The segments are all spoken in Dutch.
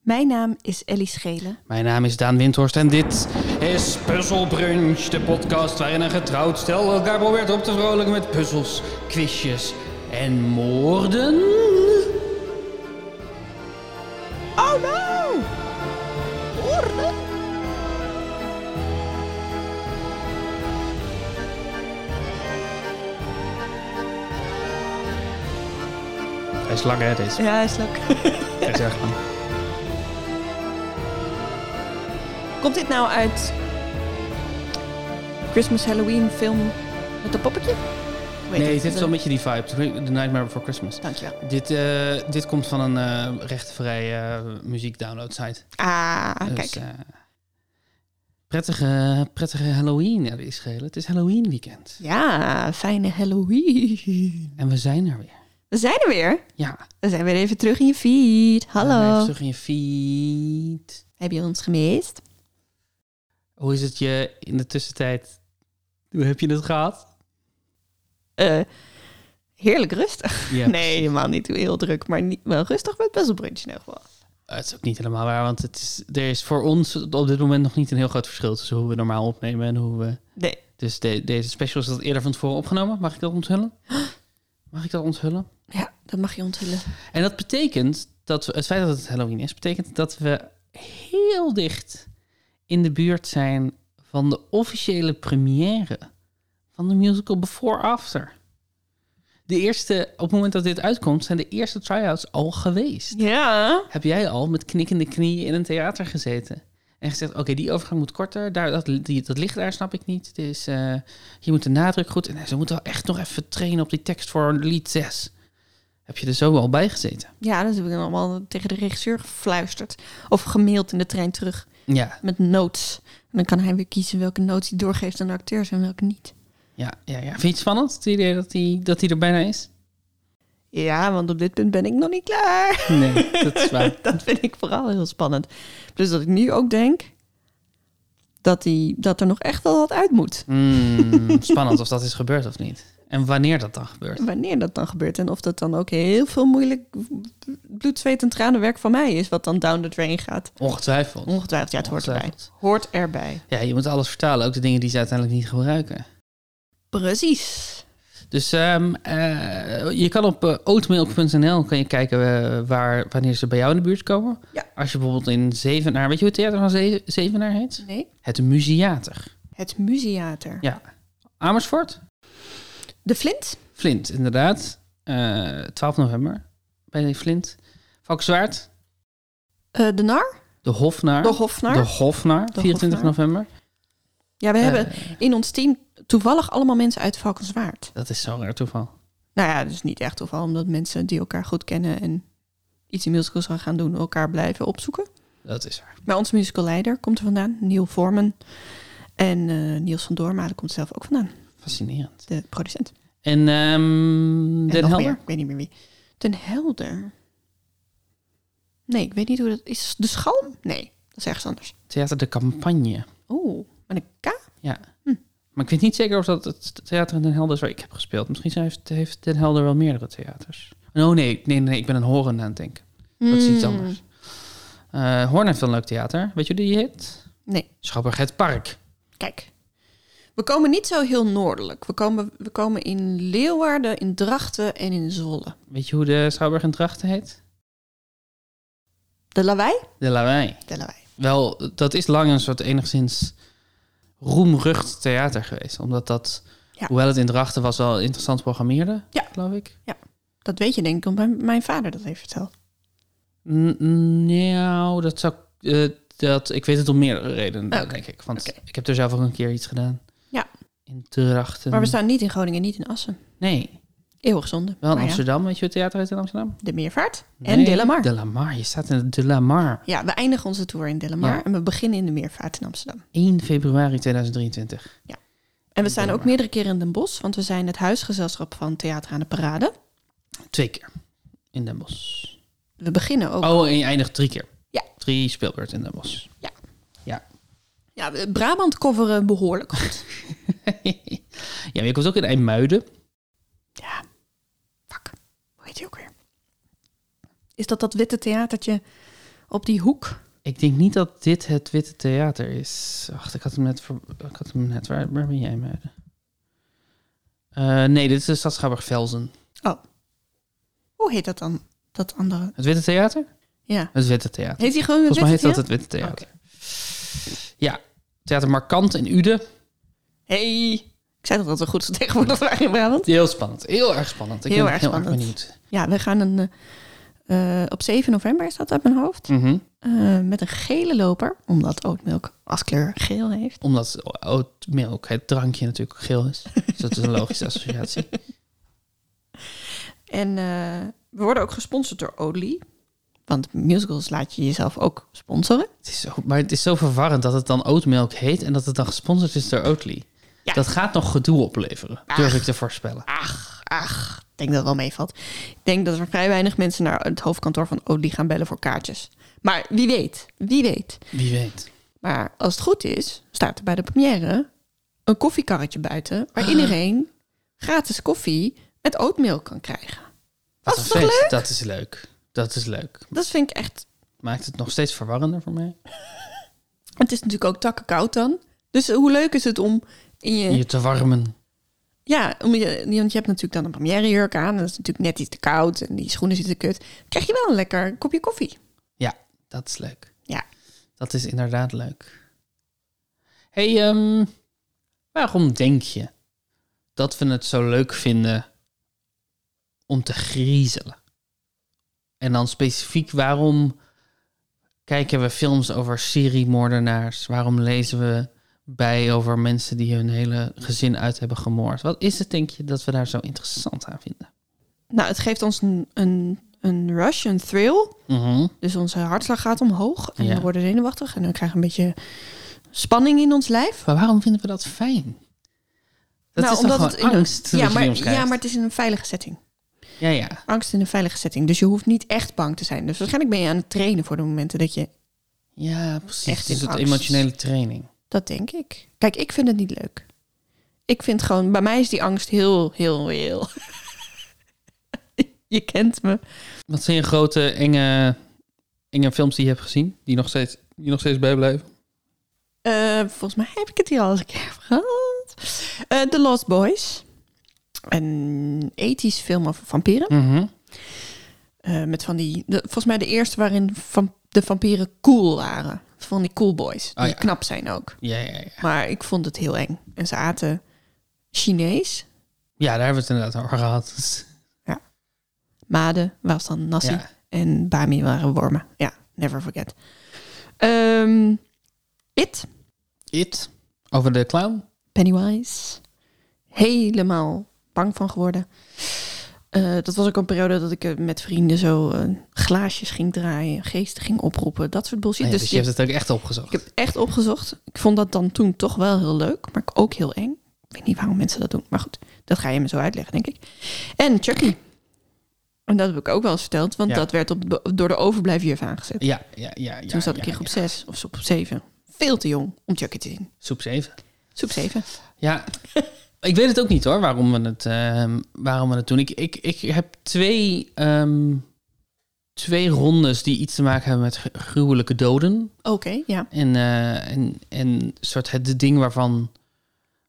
Mijn naam is Ellie Schelen. Mijn naam is Daan Windhorst en dit is Puzzle Brunch, de podcast waarin een getrouwd stel elkaar probeert op te vrolijken met puzzels, quizjes en moorden. Oh no! Orde! Hij is lang hè, deze. Ja, is leuk. Hij is erg lang. Komt dit nou uit Christmas Halloween film met een poppetje? Ik weet Nee, het eh? dit is niet. wel een beetje die vibe, The Nightmare Before Christmas. Dankjewel. Dit, eh, dit komt van een eh rechtenvrije muziek muziekdownload site. Ah, Dus, kijk. eh, prettige, prettige Halloween, ja, die is geheel. Het is Halloween weekend. Ja, fijne Halloween. En we zijn er weer. We zijn er weer. Ja. We zijn weer even terug in je feed. En Even Hallo. terug in je feed. Heb je ons gemist? Hoe is het je in de tussentijd? Hoe heb je het gehad? Eh, heerlijk rustig. Ja, nee, helemaal niet heel druk, maar niet, wel rustig met best wel brunch in ieder geval. Het is ook niet helemaal waar, want het is, er is voor ons op dit moment nog niet een heel groot verschil tussen hoe we normaal opnemen en hoe we. Nee. Dus de- deze special is dat eerder van tevoren opgenomen. Mag ik dat onthullen? Mag ik dat onthullen? Ja, dat mag je onthullen. En dat betekent dat we, het feit dat het Halloween is, betekent dat we heel dicht in de buurt zijn van de officiële première van de musical Before After. De eerste, op het moment dat dit uitkomt, zijn de eerste try-outs al geweest. Ja. Heb jij al met knikkende knieën in een theater gezeten? En gezegd, oké, die overgang moet korter. Daar, dat, die, dat ligt daar, snap ik niet. Dus eh, je moet de nadruk goed... En ze moeten wel echt nog even trainen op die tekst voor lied 6. Heb je er zo al bij gezeten? Ja, dat heb ik dan allemaal tegen de regisseur gefluisterd. Of gemaild in de trein terug Ja, met notes. En dan kan hij weer kiezen welke notes hij doorgeeft aan de acteurs en welke niet. ja, ja, ja. Vind je het spannend, het idee dat die, dat die er bijna is? Ja, want op dit punt ben ik nog niet klaar. Nee, dat is waar. Dat vind ik vooral heel spannend. Plus dat ik nu ook denk dat, hij, dat er nog echt wel wat uit moet. Mm, spannend of dat is gebeurd of niet. En wanneer dat dan gebeurt. Wanneer dat dan gebeurt en of dat dan ook heel veel moeilijk bloed, zweet en tranenwerk van mij is, wat dan down the drain gaat. Ongetwijfeld. Ongetwijfeld, ja, het hoort erbij. Ongetwijfeld. Hoort erbij. Ja, je moet alles vertalen. Ook de dingen die ze uiteindelijk niet gebruiken. Precies. Dus ehm, eh, je kan op eh, oatmilk.nl kan je kijken eh, waar, wanneer ze bij jou in de buurt komen. Ja. Als je bijvoorbeeld in Zevenaar... Weet je hoe het theater van Ze- Zevenaar heet? Nee, Het Museater. het museater. Ja. Amersfoort? De Flint? Flint, inderdaad. Eh, 12 november bij de Flint. Valkenswaard, Eh, de Nar? de Hofnaar. De Hofnar? De Hofnaar, De 24 Hofnaar. november. Ja, we hebben Eh, in ons team toevallig allemaal mensen uit Valkenswaard. dat is zo'n raar toeval. Nou ja, dat is niet echt toeval, omdat mensen die elkaar goed kennen en iets in musicals gaan gaan doen, elkaar blijven opzoeken. Dat is waar. Maar onze musicalleider komt er vandaan, Neil Vormen. En eh, Niels van Doormalen komt zelf ook vandaan, Fascinerend. de producent. En ehm en Den nog Helder? meer, ik weet niet meer wie. Den Helder? Nee, ik weet niet hoe dat is. De Schalm? Nee, dat is ergens anders. Theater de Campagne. Oeh, met een K? Ja. Hm. Maar ik weet niet zeker of dat het theater in Den Helder is waar ik heb gespeeld. Misschien zijn- heeft, heeft Den Helder wel meerdere theaters. Oh nee, nee, nee, ik ben een Horen aan het denken. Dat is iets Hmm. anders. Eh Hoorn heeft wel een leuk theater. Weet je hoe die heet? Nee. Schapperg het Park. Kijk, we komen niet zo heel noordelijk. We komen, we komen in Leeuwarden, in Drachten en in Zwolle. Weet je hoe de Schouwburg in Drachten heet? De lawaai? De Lawaai. De lawaai. Wel, dat is lang een soort enigszins roemrucht theater geweest. Omdat dat, Ja. hoewel het in Drachten was, wel interessant programmeerde, Ja. geloof ik. Dat weet je denk ik, omdat mijn, mijn vader dat heeft verteld. N- Nou, dat zou. eh, dat, ik weet het om meerdere redenen, Oké. denk ik. Want Oké. ik heb er zelf ook een keer iets gedaan. Ja. In Drachten. Maar we staan niet in Groningen, niet in Assen. Nee, Eeuwig zonde. wel in Maar Oh ja, Amsterdam. Weet je hoe het theater heet in Amsterdam? de Meervaart Nee, en De La Mar. De La Mar. Je staat in De La Mar. Ja, we eindigen onze tour in De La Mar Ja. en we beginnen in de Meervaart in Amsterdam. 1 februari 2023. En we De staan La ook Mar. meerdere keren in Den Bosch, want we zijn het huisgezelschap van Theater aan de Parade. Twee keer. In Den Bosch. We beginnen ook... Oh, en je eindigt drie keer. Ja. Drie speelbeurten in Den Bosch. Ja, we- Brabant coveren behoorlijk goed. ja, maar ik was ook in IJmuiden. Ja. Fuck. Hoe heet die ook weer? Is dat dat witte theatertje op die hoek. Ik denk niet dat dit het Witte Theater is. Wacht, ik had hem net... Ver... Ik had hem net... Waar, waar ben jij, meiden? Eh, nee, dit is de Stadsschouwburg Velzen. Hoe heet dat dan? Dat andere. Het Witte Theater? Ja. Het Witte Theater. Heet hij gewoon het Volgens mij heet Witte dat het Witte Theater. Ja, Theater Markant in Uden. Hey. Ik zei dat dat we goed vertegenwoordigd waren in Brabant. Heel spannend. Heel erg spannend. Ik Heel ben erg heel erg spannend. benieuwd. Ja, we gaan een... eh, eh, op 7 november staat dat uit mijn hoofd. Mhm. Eh, met een gele loper. Omdat oatmilk als kleur geel heeft. Omdat oatmilk, het drankje natuurlijk geel is. Dus dat is een logische associatie. En eh, we worden ook gesponsord door Oatly. Want musicals laat je jezelf ook sponsoren. Het is zo, maar het is zo verwarrend dat het dan oatmilk heet en dat het dan gesponsord is door Oatly. Ja. Ah. Dat gaat nog gedoe opleveren, durf ik te voorspellen. Ach, ach. Ik denk dat het wel meevalt. Ik denk dat er vrij weinig mensen naar het hoofdkantoor van Oatly gaan bellen voor kaartjes. Maar wie weet, wie weet. Wie weet. Maar als het goed is, staat er bij de première een koffiekarretje buiten... waar iedereen gratis koffie met oatmilk kan krijgen. Wat Dat is toch een feest. leuk? Dat is leuk. Dat is leuk. Dat vind ik echt... Maakt het nog steeds verwarrender voor mij. Het is natuurlijk ook takken koud dan. Dus hoe leuk is het om in je... Je te warmen. Ja, om je, want je hebt natuurlijk dan een première jurk aan. En dat is natuurlijk net iets te koud. En die schoenen zitten kut. krijg je wel een lekker kopje koffie. Ja, dat is leuk. Ja. Dat is inderdaad leuk. hey, ehm, waarom denk je dat we het zo leuk vinden om te griezelen? En dan specifiek, waarom kijken we films over seriemoordenaars? Waarom lezen we bij over mensen die hun hele gezin uit hebben gemoord? Wat is het, denk je, dat we daar zo interessant aan vinden? Nou, het geeft ons een, een, een rush, een thrill. Mhm. Dus onze hartslag gaat omhoog. En Ja. we worden zenuwachtig. En dan krijgen we een beetje spanning in ons lijf. Maar waarom vinden we dat fijn? Dat Nou, is toch gewoon omdat het in een- angst dat ja, je maar, bij ons ja, krijgt? maar het is in een veilige setting. ja, ja. Angst in een veilige setting. Dus je hoeft niet echt bang te zijn. Dus waarschijnlijk ben je aan het trainen voor de momenten dat je... Ja, precies. Echt dus in het angst. emotionele training. Dat denk ik. Kijk, ik vind het niet leuk. Ik vind gewoon... Bij mij is die angst heel, heel reëel. je kent me. Wat zijn je grote enge, enge films die je hebt gezien? Die nog steeds, die nog steeds bijblijven? Eh, volgens mij heb ik het hier al eens een keer over gehad. Eh, The Lost Boys. Een ethisch film over vampieren. Eh, met van die, de- volgens mij de eerste waarin van, de vampieren cool waren. Van die cool boys. Die Ah, ja. knap zijn ook. Ja, ja, ja. Maar ik vond het heel eng. En ze aten Chinees. Ja, daar hebben we het inderdaad over gehad. Maden was dan nasi. Ja. En Bami waren wormen. Ja, never forget. Ehm, It. It, over de clown. Pennywise. Helemaal bang van geworden. Eh, dat was ook een periode dat ik eh, met vrienden zo eh, glaasjes ging draaien, geesten ging oproepen, dat soort bullshit. Ah ja, dus dus je ik- hebt het ook echt opgezocht. ik heb echt opgezocht. Ik vond dat dan toen toch wel heel leuk, maar ook heel eng. Ik weet niet waarom mensen dat doen, maar goed, dat ga je me zo uitleggen, denk ik. En Chucky. En dat heb ik ook wel eens verteld, want Ja. dat werd op, de- door de overblijfjuf aangezet. Ja, ja, ja. ja toen zat ik ja, in groep ja. 6 of groep 7. Veel te jong om Chucky te zien. Soep 7. Groep 7. Ja, ik weet het ook niet hoor, waarom we het, ehm, waarom we het doen. Ik, ik, ik heb twee, ehm, twee rondes die iets te maken hebben met gru- gruwelijke doden. Oké, ja. En, eh, en, en soort het ding waarvan,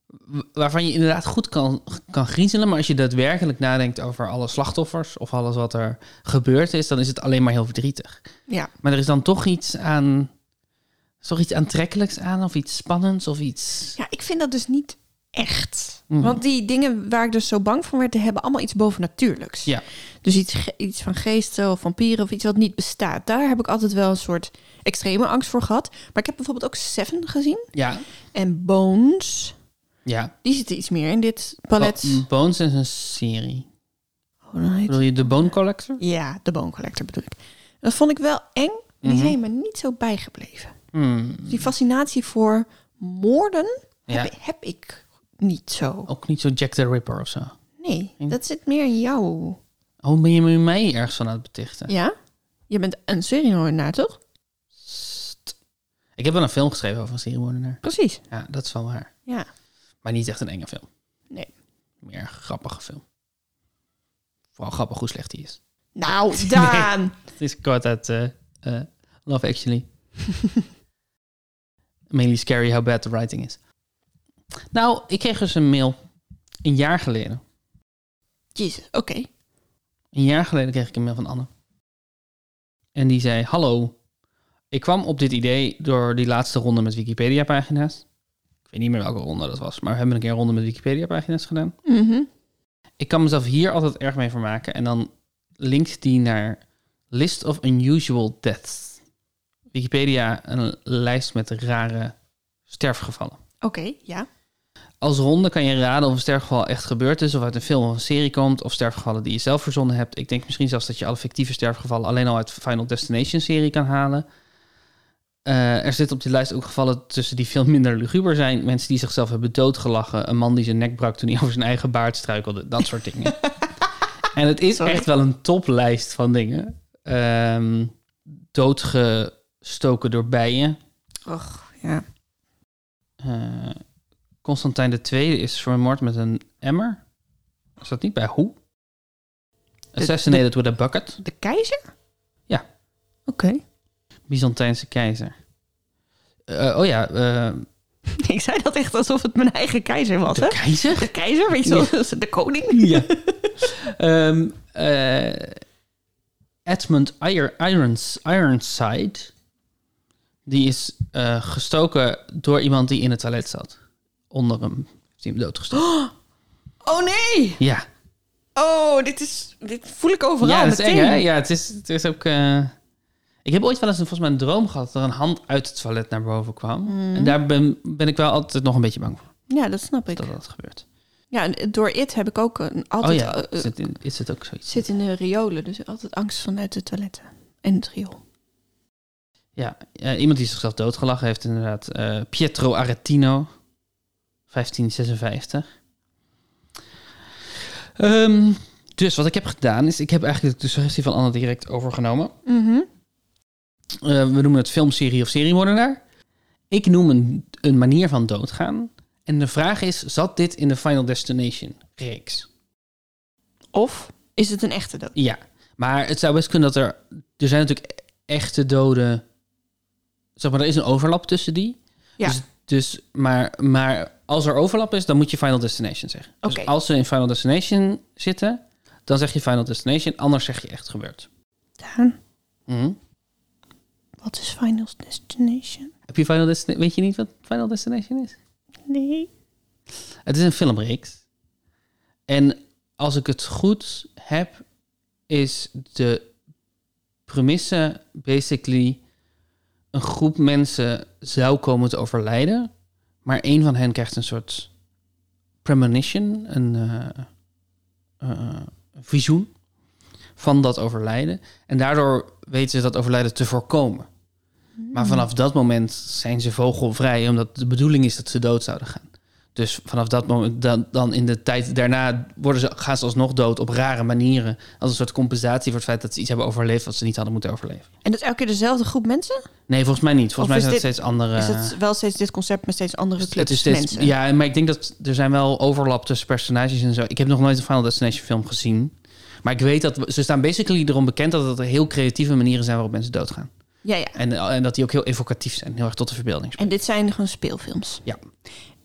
wa- waarvan je inderdaad goed kan, kan griezelen. Maar als je daadwerkelijk nadenkt over alle slachtoffers of alles wat er gebeurd is, dan is het alleen maar heel verdrietig. Ja. Maar er is dan toch iets aan. er is toch iets aantrekkelijks aan, of iets spannends, of iets. Ja, ik vind dat dus niet echt. Mhm. Want die dingen waar ik dus zo bang van werd, die hebben allemaal iets bovennatuurlijks. Ja. Dus iets, ge- iets van geesten of vampieren of iets wat niet bestaat. Daar heb ik altijd wel een soort extreme angst voor gehad. Maar ik heb bijvoorbeeld ook Seven gezien. Ja, En Bones, ja. die zitten iets meer in dit palet. Bo- mm, Bones is een serie. Oh, mm. dan heet- Bedoel je The Bone Collector? Ja, de Bone Collector bedoel ik. Dat vond ik wel eng. en Die Mhm. zijn me niet zo bijgebleven. Hmm, Dus die fascinatie voor moorden Ja. Oh. heb, heb ik niet zo. Ook niet zo Jack the Ripper of zo. Nee, dat zit meer in jou. Oh, ben je me mij ergens van aan het betichten? Ja? Je bent een seriemoordenaar, toch? Sst. Ik heb wel een film geschreven over een seriemoordenaar. Precies. Ja, dat is wel waar. Ja. Maar niet echt een enge film. Nee. Meer een grappige film. Vooral grappig hoe slecht die is. Nou, Daan. Het is kort uit eh, eh, Love Actually. Mainly scary how bad the writing is. Nou, ik kreeg dus een mail. Een jaar geleden. Jezus, oké. Een jaar geleden kreeg ik een mail van Anne. En die zei: Hallo, ik kwam op dit idee door die laatste ronde met Wikipedia-pagina's. Ik weet niet meer welke ronde dat was, maar we hebben een keer een ronde met Wikipedia-pagina's gedaan. Mhm. Ik kan mezelf hier altijd erg mee vermaken. En dan linkt die naar List of Unusual Deaths. Wikipedia, een lijst met rare sterfgevallen. Oké, ja. Als ronde kan je raden of een sterfgeval echt gebeurd is, of uit een film of een serie komt, of sterfgevallen die je zelf verzonnen hebt. Ik denk misschien zelfs dat je alle fictieve sterfgevallen alleen al uit de Final Destination serie kan halen. Eh, er zitten op die lijst ook gevallen tussen die veel minder luguber zijn. Mensen die zichzelf hebben doodgelachen. Een man die zijn nek brak toen hij over zijn eigen baard struikelde. Dat soort dingen. en het is Sorry. echt wel een toplijst van dingen. Ehm, doodgestoken door bijen. Och, ja. Eh, Constantijn II is vermoord met een emmer. Is dat niet bij hoe? Assassinated with a bucket. De keizer? Ja. Oké. Byzantijnse keizer. Eh, oh ja, eh, Ik zei dat echt alsof het mijn eigen keizer was, de hè? keizer? De keizer, weet je Ja. wel, de koning. ja. Ehm, eh, Edmund Iron, Irons, Ironside. Die is eh, gestoken door iemand die in het toilet zat. Onder hem. Heeft hij hem doodgestoken? Oh nee! Ja. Oh, dit is... Dit voel ik overal Ja, dat is meteen. eng, hè? Ja, het is, het is ook... eh, Ik heb ooit wel eens een, volgens mij een droom gehad... dat er een hand uit het toilet naar boven kwam. Hmm. En daar ben, ben ik wel altijd nog een beetje bang voor. Ja, dat snap ik. Dat dat gebeurt. Ja, en door it heb ik ook een, Oh altijd... ja, eh, is eh, het, in- is het ook zoiets? zit in de riolen, dus altijd angst vanuit de toiletten. En het riool. Ja, eh, iemand die zichzelf doodgelachen heeft inderdaad. eh, Pietro Aretino, 1556. Ehm, dus wat ik heb gedaan is... ik heb eigenlijk de suggestie van Anna direct overgenomen. Mhm. Eh, we noemen het filmserie of seriemoordenaar. Ik noem een, een manier van doodgaan. En de vraag is, zat dit in de Final Destination reeks? Of is het een echte dood? Ja, maar het zou best kunnen dat er... Er zijn natuurlijk e- echte doden... Zeg maar, er is een overlap tussen die. Ja. Dus, dus, maar, maar als er overlap is, dan moet je Final Destination zeggen. Oké. Dus als ze in Final Destination zitten, dan zeg je Final Destination. Anders zeg je echt gebeurd. Daan, Mhm. wat is Final Destination? Heb je Final Destination... Weet je niet wat Final Destination is? Nee. Het is een filmreeks. En als ik het goed heb, is de premisse basically een groep mensen zou komen te overlijden, maar één van hen krijgt een soort premonition, een eh, eh, visioen van dat overlijden. En daardoor weten ze dat overlijden te voorkomen. Maar vanaf dat moment zijn ze vogelvrij, omdat de bedoeling is dat ze dood zouden gaan. Dus vanaf dat moment, dan, dan in de tijd daarna worden ze, gaan ze alsnog dood op rare manieren. Als een soort compensatie voor het feit dat ze iets hebben overleefd wat ze niet hadden moeten overleven. En dat is elke keer dezelfde groep mensen? Nee, volgens mij niet. Of Volgens mij is zijn het dit- steeds andere. Is het wel steeds dit concept met steeds andere clubs het is steeds, mensen? ja, maar ik denk dat er zijn wel overlap tussen personages en zo. Ik heb nog nooit een Final Destination film gezien. Maar ik weet dat we- ze staan basically erom bekend dat het heel creatieve manieren zijn waarop mensen doodgaan. ja, ja. En, en dat die ook heel evocatief zijn. Heel erg tot de verbeelding. En dit zijn gewoon speelfilms? Ja.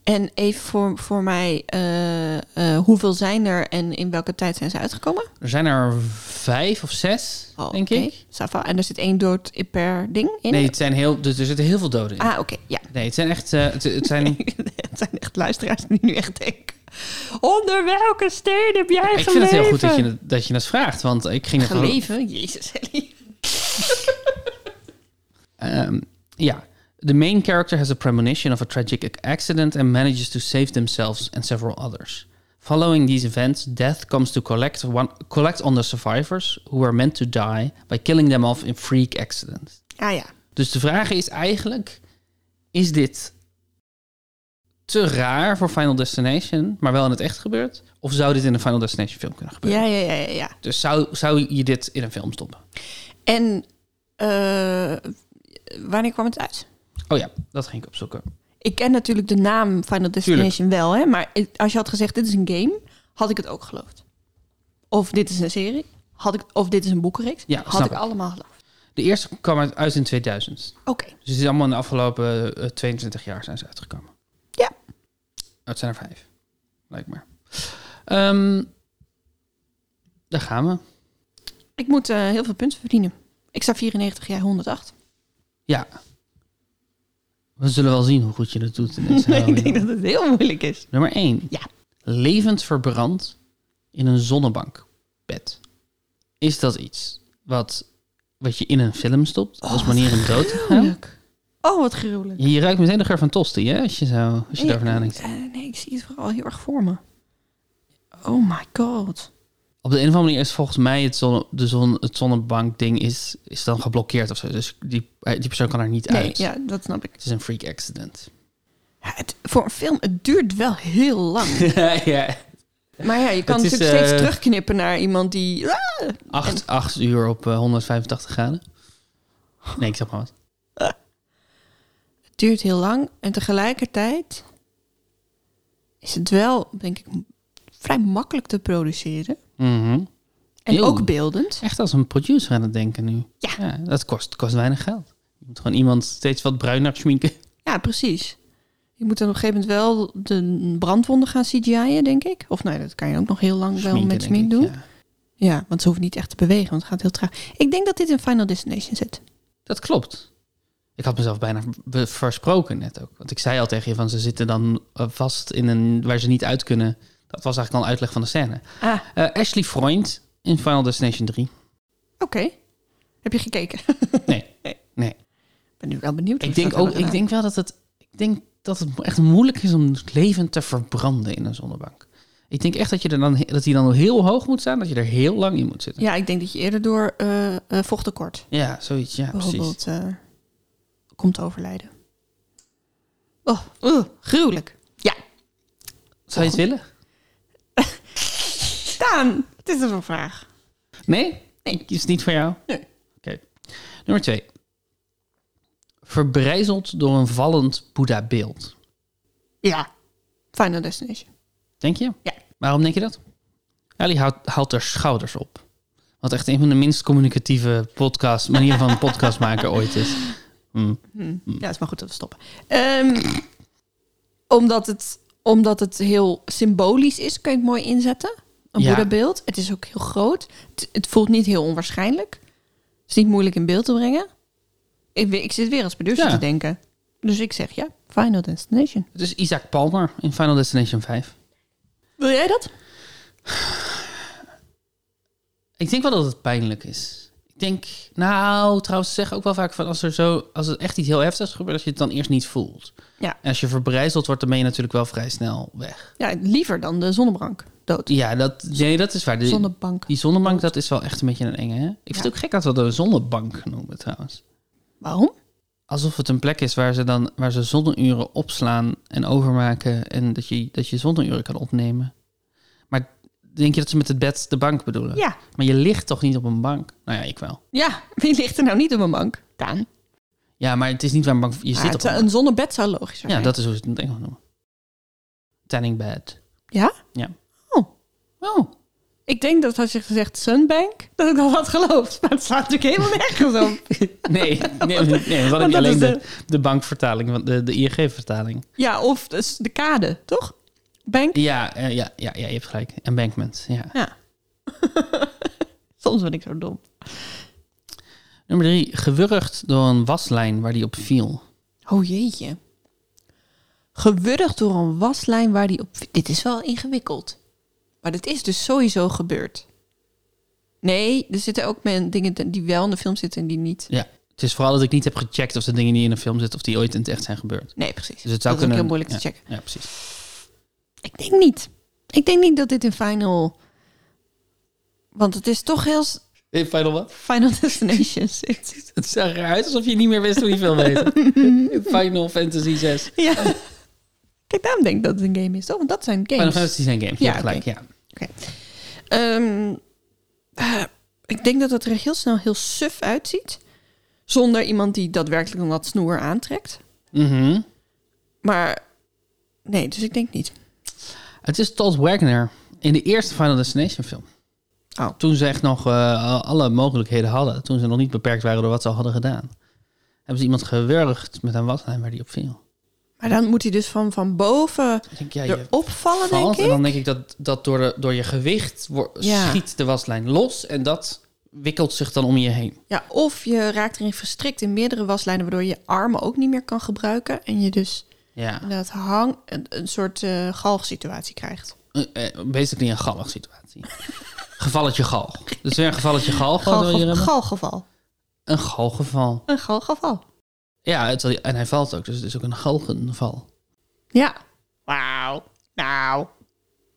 En even voor, voor mij, eh, eh, hoeveel zijn er en in welke tijd zijn ze uitgekomen? Er zijn er vijf of zes, Oh, denk oké. ik. Ça va. En er zit één dood per ding in? Nee, het zijn heel, dus er zitten heel veel doden in. Ah, oké, ja. Nee, het zijn echt. eh, het, het zijn, het zijn echt luisteraars die nu echt denken... Onder welke steen heb jij ik vind het heel goed dat je, het- dat je het vraagt. Want ik ging het Geleven? Jezus, Ellie. Ehm, ja. The main character has a premonition of a tragic accident and manages to save themselves and several others. Following these events, death comes to collect, one, collect on the survivors who were meant to die by killing them off in freak accidents. Ah ja. Dus de vraag is eigenlijk: is dit te raar voor Final Destination, maar wel in het echt gebeurd? Of zou dit in een Final Destination film kunnen gebeuren? Ja, ja, ja, ja, ja. Dus zou, zou je dit in een film stoppen? En eh, wanneer kwam het uit? Oh ja, dat ging ik opzoeken. Ik ken natuurlijk de naam Final Destination wel, hè? maar ik- als je had gezegd dit is een game, had ik het ook geloofd. Of dit is een serie, had ik, of dit is een boekenreeks, Ja, had snap ik ik. allemaal geloofd. De eerste kwam uit, uit in 2000. Oké. Dus het is allemaal in de afgelopen eh, 22 jaar zijn ze uitgekomen. Ja. Oh, het zijn er vijf. Lijkt me. Ehm, daar gaan we. Ik moet eh, heel veel punten verdienen. Ik sta 94, jij 108. Ja. We zullen wel zien hoe goed je dat doet in deze ik Halloween. denk dat het heel moeilijk is. Nummer 1. Ja. Levend verbrand in een zonnebankbed. Is dat iets wat, wat je in een film stopt als manier om dood te Oh, gaan? Gruwelijk. Oh, wat gruwelijk. Je ruikt meteen de geur van tosti, hè? Als je, zo, als Ja, je daarover nadenkt. eh, nee, ik zie het vooral heel erg voor me. Oh my god. Op de een of andere manier is volgens mij het, zonne, de zon, het zonnebankding is, is dan geblokkeerd of zo. Dus die, eh, die persoon kan er niet Nee, uit. ja, dat snap ik. Het is een freak accident. Ja, het, voor een film, het duurt wel heel lang. ja. maar ja, je kan Het is, natuurlijk steeds eh, terugknippen naar iemand die... "Ah!" Acht, acht uur op eh, 185 graden. Nee, ik zeg maar wat. Het duurt heel lang en tegelijkertijd is het wel, denk ik, m- vrij makkelijk te produceren. Mhm. En Heel. ook beeldend. Echt als een producer aan het denken nu. Ja. dat kost, kost weinig geld. Je moet gewoon iemand steeds wat bruiner schminken. Ja, precies. Je moet dan op een gegeven moment wel de brandwonden gaan CGI'en, denk ik. Of nee, dat kan je ook nog heel lang wel Schminken, met denk smink ik, doen. Ja. ja. want ze hoeven niet echt te bewegen, want het gaat heel traag. Ik denk dat dit in Final Destination zit. Dat klopt. Ik had mezelf bijna be- versproken net ook. Want ik zei al tegen je van ze zitten dan eh, vast in een waar ze niet uit kunnen. Dat was eigenlijk al een uitleg van de scène. Ah, Eh, Ashley Freund in Final Destination 3. oké. Heb je gekeken? Nee. Nee. Nee. Ik ben nu wel benieuwd. Ik of denk dat wel ook, ik gedaan. denk wel dat het, ik denk dat het echt moeilijk is om levend te verbranden in een zonnebank. Ik denk echt dat je er dan, he- dat die dan heel hoog moet staan, dat je er heel lang in moet zitten. Ja, ik denk dat je eerder door eh eh, vochttekort Ja, zoiets. Ja, precies. bijvoorbeeld eh, komt te overlijden. Oh, ugh, gruwelijk. Ja, Zou je het willen? Daan, het is een vraag. Nee? Nee. Is het niet voor jou? Nee. Oké. Nummer twee. Verbrijzeld door een vallend Boeddha-beeld. Ja. Final Destination. Denk je? Ja. Waarom denk je dat? Ali haalt, haalt haar schouders op. Wat echt een van de minst communicatieve podcast, manieren van podcast maken ooit is. Hm. Hm. Ja, is maar goed dat we stoppen. Ehm, omdat, het, omdat het heel symbolisch is, kun je het mooi inzetten. Een Ja. Boeddha-beeld. Het is ook heel groot. Het, het voelt niet heel onwaarschijnlijk. Het is niet moeilijk in beeld te brengen. Ik, we- ik zit weer als producer Ja. te denken. Dus ik zeg ja, Final Destination. Het is Isaac Palmer in Final Destination 5. Wil jij dat? Ik denk wel dat het pijnlijk is. Ik denk, nou, trouwens, ze zeggen ook wel vaak van als er zo, als het echt iets heel heftigs gebeurt, dat je het dan eerst niet voelt. Ja. En als je verbrijzeld wordt, dan ben je natuurlijk wel vrij snel weg. Ja, liever dan de zonnebank dood. Ja, dat, nee, dat is waar. De- Zonnebank. die zonnebank, dat is wel echt een beetje een enge, hè? Ik vind het ook gek dat we dat een zonnebank noemen, trouwens. Waarom? Alsof het een plek is waar ze dan waar ze zonneuren opslaan en overmaken en dat je, dat je zonneuren kan opnemen. Maar denk je dat ze met het bed de bank bedoelen? Ja. Maar je ligt toch niet op een bank? Nou ja, ik wel. Ja, wie ligt er nou niet op een bank? Daan. Ja, maar het is niet waar een bank... Je Maar zit op Ah, het- een bank. een zonnebed zou logisch zijn. Ja, dat is hoe ze het in het Engels noemen. Tanning bed. Ja? Ja. Oh. Oh. Ik denk dat als je gezegd Sunbank, dat ik al had geloofd. Maar het slaat natuurlijk helemaal nergens op. Nee, nee, nee dan heb Want je dat alleen is de, de bankvertaling, want de, de ING-vertaling. Ja, of dus de kade, toch? Bank? Ja, eh, ja, ja, ja, je hebt gelijk. Embankment, ja. Ja. Soms ben ik zo dom. Nummer drie, gewurgd door een waslijn waar die op viel. Oh jeetje. Gewurgd door een waslijn waar die op... Dit is wel ingewikkeld. Maar dit is dus sowieso gebeurd. Nee, er zitten ook men, dingen die wel in de film zitten en die niet. Ja, het is vooral dat ik niet heb gecheckt of de dingen die in een film zitten, of die ooit in het echt zijn gebeurd. Nee, precies. Dus het dat is zou ook kunnen... heel moeilijk ja, te checken. Ja, precies. Ik denk niet. Ik denk niet dat dit in Final... Want het is toch heel... s- In Final wat? Final Destination zit. Het zag eruit alsof je niet meer wist hoe je film heette. Final Fantasy 6. Ja. Kijk, daarom denk ik dat het een game is, toch? Want dat zijn games. Final Fantasy zijn games, Ja, ja, gelijk. oké. Ja. Ehm, eh, ik denk dat het er heel snel heel suf uitziet. Zonder iemand die daadwerkelijk dan dat snoer aantrekt. Mhm. Maar nee, dus ik denk niet. Het is Todd Wagner in de eerste Final Destination film. Oh. Toen ze echt nog eh, alle mogelijkheden hadden. Toen ze nog niet beperkt waren door wat ze al hadden gedaan. Hebben ze iemand gewurgd met een waslijn waar die op viel. Maar dan moet hij dus van, van boven Ik denk, ja, je erop vallen, denk valt. En ik. dan denk ik dat, dat door, de, door je gewicht wo- Ja. schiet de waslijn los. En dat wikkelt zich dan om je heen. Ja, of je raakt erin verstrikt in meerdere waslijnen, waardoor je je armen ook niet meer kan gebruiken. En je dus Ja, inderdaad hang, een, een soort eh, galgsituatie krijgt. Eh, eh, basically een gallig situatie. gevalletje galg. Dus weer een gevalletje galg. wat wil je Galge- hebben? Galgeval. Een galgeval. Een galgeval. Ja, het, en hij valt ook. Dus het is ook een galgenval. Ja. Wauw. Nou.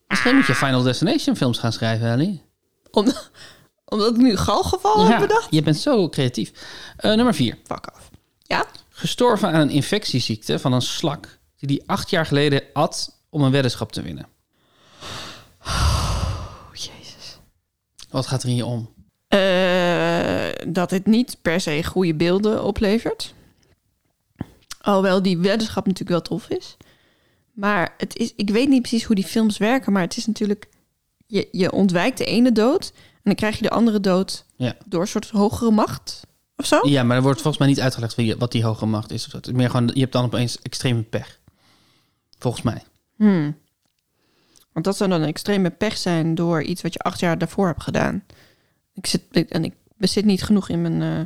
Misschien moet je Final Destination films gaan schrijven, Ellie. Om, omdat ik nu galgeval Oh, heb bedacht? je bent zo creatief. Eh, nummer 4. Fuck af. Ja? Gestorven aan een infectieziekte van een slak... die die acht jaar geleden at om een weddenschap te winnen. Oh, jezus. Wat gaat er in je om? Eh, dat het niet per se goede beelden oplevert. Alhoewel die weddenschap natuurlijk wel tof is. Maar het is, ik weet niet precies hoe die films werken, maar het is natuurlijk... Je, je ontwijkt de ene dood en dan krijg je de andere dood Ja. door een soort hogere macht of zo. ja, maar er wordt volgens mij niet uitgelegd wie- wat die hoge macht is. of zo. Het is meer gewoon, je hebt dan opeens extreme pech. Volgens mij. Hmm. Want dat zou dan een extreme pech zijn door iets wat je acht jaar daarvoor hebt gedaan. Ik zit, ik- en ik bezit niet genoeg in mijn... eh,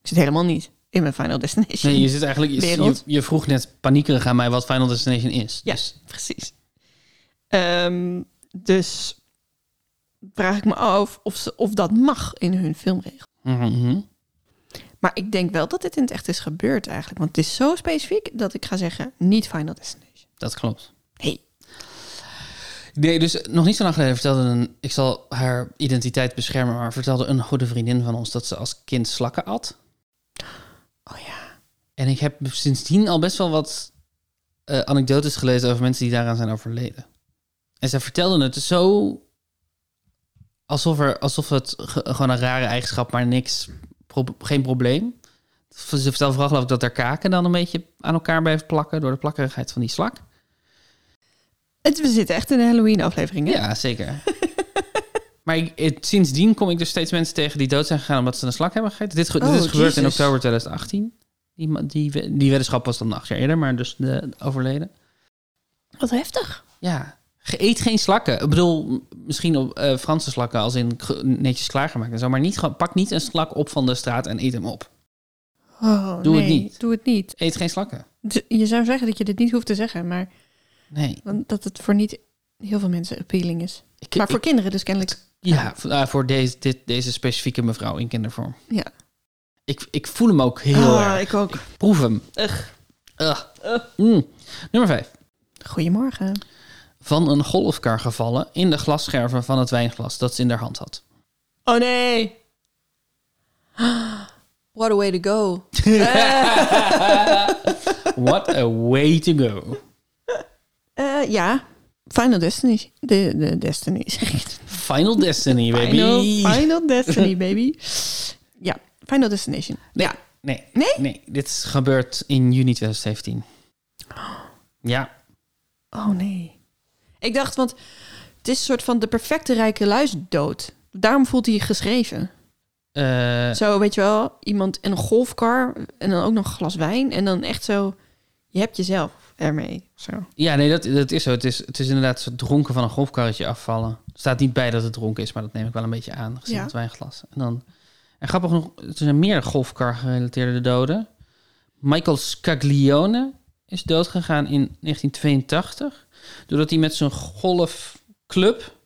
ik zit helemaal niet in mijn Final Destination. Nee, je zit eigenlijk... Je, je, Wereld. je vroeg net paniekerig aan mij wat Final Destination is. Ja. Dus Precies. Ehm, dus vraag ik me af of, ze, of dat mag in hun filmregel. Mhm. Maar ik denk wel dat dit in het echt is gebeurd eigenlijk. Want het is zo specifiek dat ik ga zeggen niet Final Destination. Dat klopt. Hey. Nee, dus nog niet zo lang geleden vertelde een... Ik zal haar identiteit beschermen, maar vertelde een goede vriendin van ons... dat ze als kind slakken at. Oh ja. En ik heb sindsdien al best wel wat eh, anekdotes gelezen... over mensen die daaraan zijn overleden. En zij vertelde het zo... alsof, er, alsof het ge- gewoon een rare eigenschap, maar niks... pro- geen probleem. Ze vertelde vooral geloof ik dat haar kaken dan een beetje aan elkaar blijven plakken... door de plakkerigheid van die slak. Het, we zitten echt in een Halloween aflevering. hè? Ja, zeker. maar ik, het- sindsdien kom ik dus steeds mensen tegen die dood zijn gegaan omdat ze een slak hebben gegeten. Dit, ge- dit Oh, is gebeurd in Jesus. oktober 2018. Die, ma- die, we- die weddenschap was dan acht jaar eerder, maar dus de, overleden. Wat heftig. Ja, Ge- eet geen slakken. Ik bedoel, m- misschien op eh, Franse slakken als in ge- netjes klaargemaakt en zo. Maar niet, gewoon- pak niet een slak op van de straat en eet hem op. Oh, Doe het nee, niet. Doe het niet. Eet geen slakken. D- Je zou zeggen dat je dit niet hoeft te zeggen, maar Nee. want dat het voor niet heel veel mensen appealing is. Ik- Maar ik- voor kinderen dus kennelijk. Ja, v- ah, voor deze, dit, deze specifieke mevrouw in kindervorm. Ja. Ik, ik voel hem ook heel Ah, erg. ik ook. Proef hem. Ugh. Mm. Nummer 5. Goedemorgen. Van een golfkar gevallen in de glasscherven van het wijnglas dat ze in haar hand had. Oh nee. What a way to go. What a way to go. Eh, ja, Final Destiny. De, de Destiny. zeg ik. Final Destiny, baby. Final, Final Destiny, baby. Ja, Final Destination. Ja. Nee. Nee? Nee, dit is gebeurd in juni 2017. Ja. Oh nee. Ik dacht, want het is een soort van de perfecte rijke luis dood. Daarom voelt hij geschreven. Eh, Zo, weet je wel, iemand in een golfkar en dan ook nog een glas wijn. En dan echt zo, je hebt jezelf ermee. Zo. ja, nee, dat, dat is zo. Het is, het is inderdaad het dronken van een golfkarretje afvallen. Er staat niet bij dat het dronken is, maar dat neem ik wel een beetje aan. Gezien Ja. het wijnglas. En, dan, en grappig genoeg, er zijn meer golfkar-gerelateerde doden. Michael Scaglione is doodgegaan in 1982. Doordat hij met zijn golfclub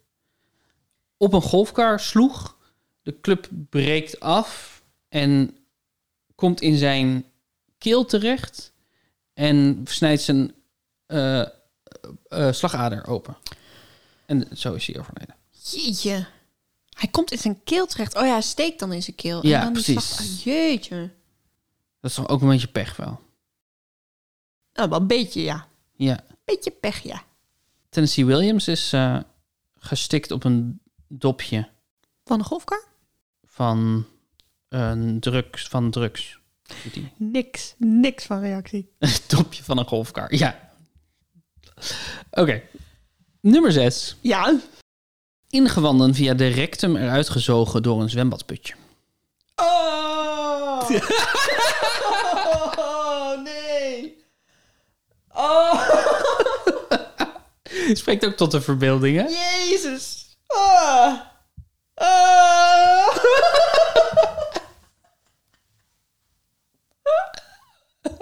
op een golfkar sloeg. De club breekt af en komt in zijn keel terecht. En snijdt zijn eh, eh, eh, slagader open. En zo is hij overleden. Jeetje. Hij komt in zijn keel terecht. Oh ja, hij steekt dan in zijn keel. Ja, en dan die precies. slag- Ah, jeetje. Dat is toch ook een beetje pech wel. Nou, wel een beetje, ja. Ja. Beetje pech, ja. Tennessee Williams is eh, gestikt op een dopje Van de golfkar? van een drugs. Van drugs. Doet hij. Niks. Niks van reactie. Het dopje van een golfkar. Ja. Oké. Nummer 6. Ja. ingewanden via de rectum eruit gezogen door een zwembadputje. Oh! oh, nee. Oh, Spreekt ook tot de verbeelding, hè? Jezus. Ah. Ah.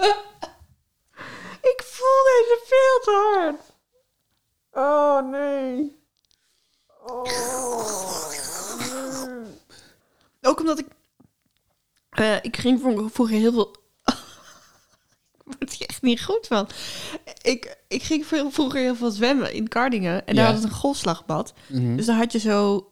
Ik voel deze veel te hard. Oh, nee. Ook omdat ik... eh, ik ging vroeger- vroeger heel veel... Ik word hier echt niet goed van. Ik, ik ging veel- vroeger heel veel zwemmen in Kardingen. En daar Ja. had het een golfslagbad. Mhm. Dus dan had je zo...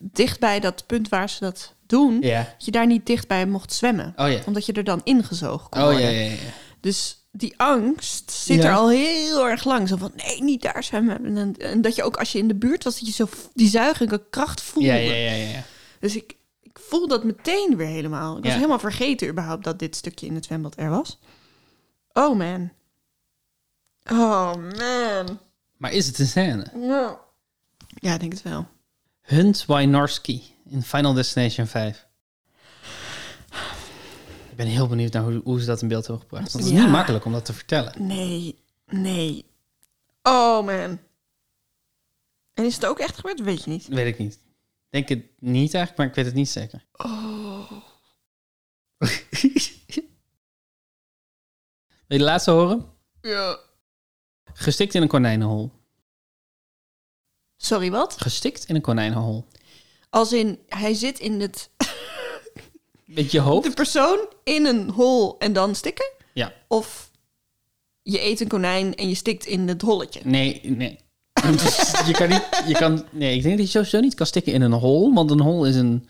Dichtbij dat punt waar ze dat doen... Ja. dat je daar niet dichtbij mocht zwemmen. Oh ja. Omdat je er dan ingezoogd kon Oh ja, worden. ja, ja. ja. Dus die angst zit Ja. er al heel erg lang. Zo van, nee, niet daar zwemmen. En, dan- en dat je ook als je in de buurt was, dat je zo v- die zuigende kracht voelde. Ja, ja, ja, ja, ja. Dus ik, ik voel dat meteen weer helemaal. Ik was Ja. helemaal vergeten überhaupt dat dit stukje in het zwembad er was. Oh man. Oh man. Maar is het een scène? Nou. Ja, ik denk het wel. Hunt Wynorski in Final Destination 5. Ik ben heel benieuwd naar hoe, hoe ze dat in beeld hebben gebracht. Want het is Ja. niet makkelijk om dat te vertellen. Nee, nee. Oh man. En is het ook echt gebeurd? Weet je niet. Weet ik niet. Ik Denk het niet eigenlijk, maar ik weet het niet zeker. Oh. Wil je de laatste horen? Ja. Gestikt in een konijnenhol. Sorry, wat? Gestikt in een konijnenhol. Als in, hij zit in het... Met je hoofd? De persoon in een hol en dan stikken? Ja. Of je eet een konijn en je stikt in het holletje? Nee, nee. je kan niet. Je kan, nee, ik denk dat je sowieso niet kan stikken in een hol. Want een hol is een.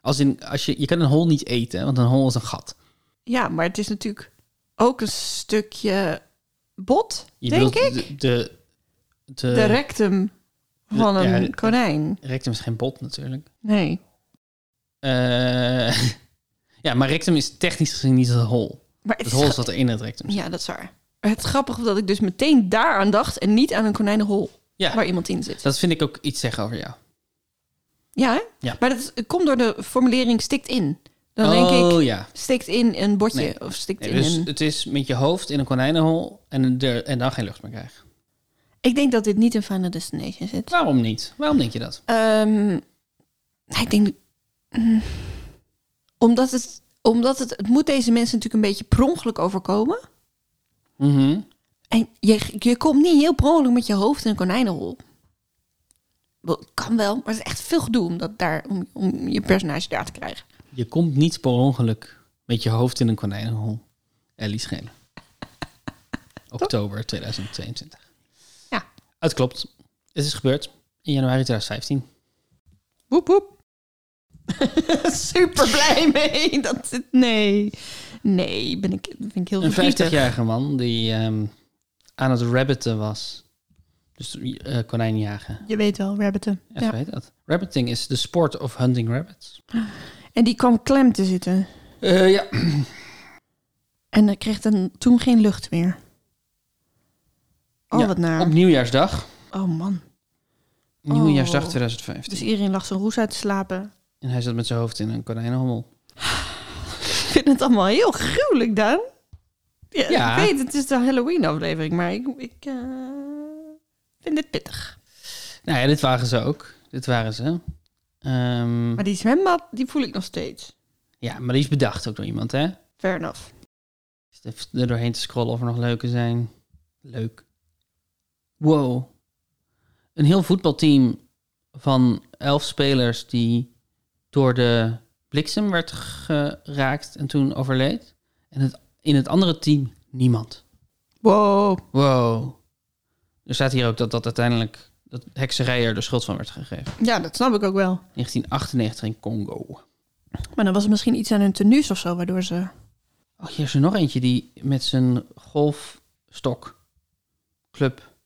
Als in, als je, je kan een hol niet eten, want een hol is een gat. Ja, maar het is natuurlijk ook een stukje bot, Je denk bedoelt ik. De, de, de- De rectum van de- ja, een de- konijn. rectum is geen bot natuurlijk. Nee. Eh, ja, maar rectum is technisch gezien niet een hol. Maar het Het is hol gra- is wat er in het rectum zit. Ja, dat is waar. Maar Het grappige was dat ik dus meteen daar aan dacht en niet aan een konijnenhol Ja. waar iemand in zit. Dat vind ik ook iets zeggen over jou. Ja, hè? Ja. Maar dat is- het komt door de formulering stikt in. Dan denk oh ik, ja. stikt in een botje Nee. of stikt Nee, in dus een... het is met je hoofd in een konijnenhol en, er, en dan geen lucht meer krijgen. Ik denk dat dit niet in Final Destination zit. Waarom niet? Waarom denk je dat? Ehm, ik denk... mm, omdat het, omdat het, het moet deze mensen natuurlijk een beetje per ongeluk overkomen. Mhm. En je, je komt niet heel per ongeluk met je hoofd in een konijnenhol. Wel, Kan wel, maar het is echt veel gedoe om, dat daar, om, om je personage daar te krijgen. Je komt niet per ongeluk met je hoofd in een konijnenhol. Ellie Schelen. Oktober 2022. Ja. Het klopt. Het is gebeurd in januari 2015. Woep woep. Super blij mee. Dat, dit- nee, nee, ben ik, vind ik heel Een verdrietig. 50-jarige man die ehm, aan het rabbiten was. Dus eh konijnjagen. Je weet wel, rabbiten. Ja, zo heet dat. Rabbiting is de sport of hunting rabbits. En die kwam klem te zitten. Eh, ja. En hij kreeg dan toen geen lucht meer. Oh, Ja, wat naar. Op nieuwjaarsdag. Oh man. Nieuwjaarsdag Oh. 2015. Dus iedereen lag zijn roes uit te slapen. En hij zat met zijn hoofd in een konijnenhommel. Ik vind het allemaal heel gruwelijk, Daan. Ja, Ja. Ik weet, het is de Halloween-aflevering, maar ik, ik eh, vind dit pittig. Nou ja, dit waren ze ook. Dit waren ze. Ehm, Maar die zwembad, die voel ik nog steeds. Ja, maar die is bedacht ook door iemand, hè? Fair enough. Zit Even er doorheen te scrollen of er nog leuke zijn. Leuk. Wow. Een heel voetbalteam van elf spelers die door de bliksem werd geraakt en toen overleed. En het, in het andere team niemand. Wow. Wow. Er staat hier ook dat dat uiteindelijk dat hekserij er de schuld van werd gegeven. Ja, dat snap ik ook wel. 1998 in Congo. Maar dan was er misschien iets aan hun tenues of zo, waardoor ze... Oh, hier is er nog eentje die met zijn golfstok club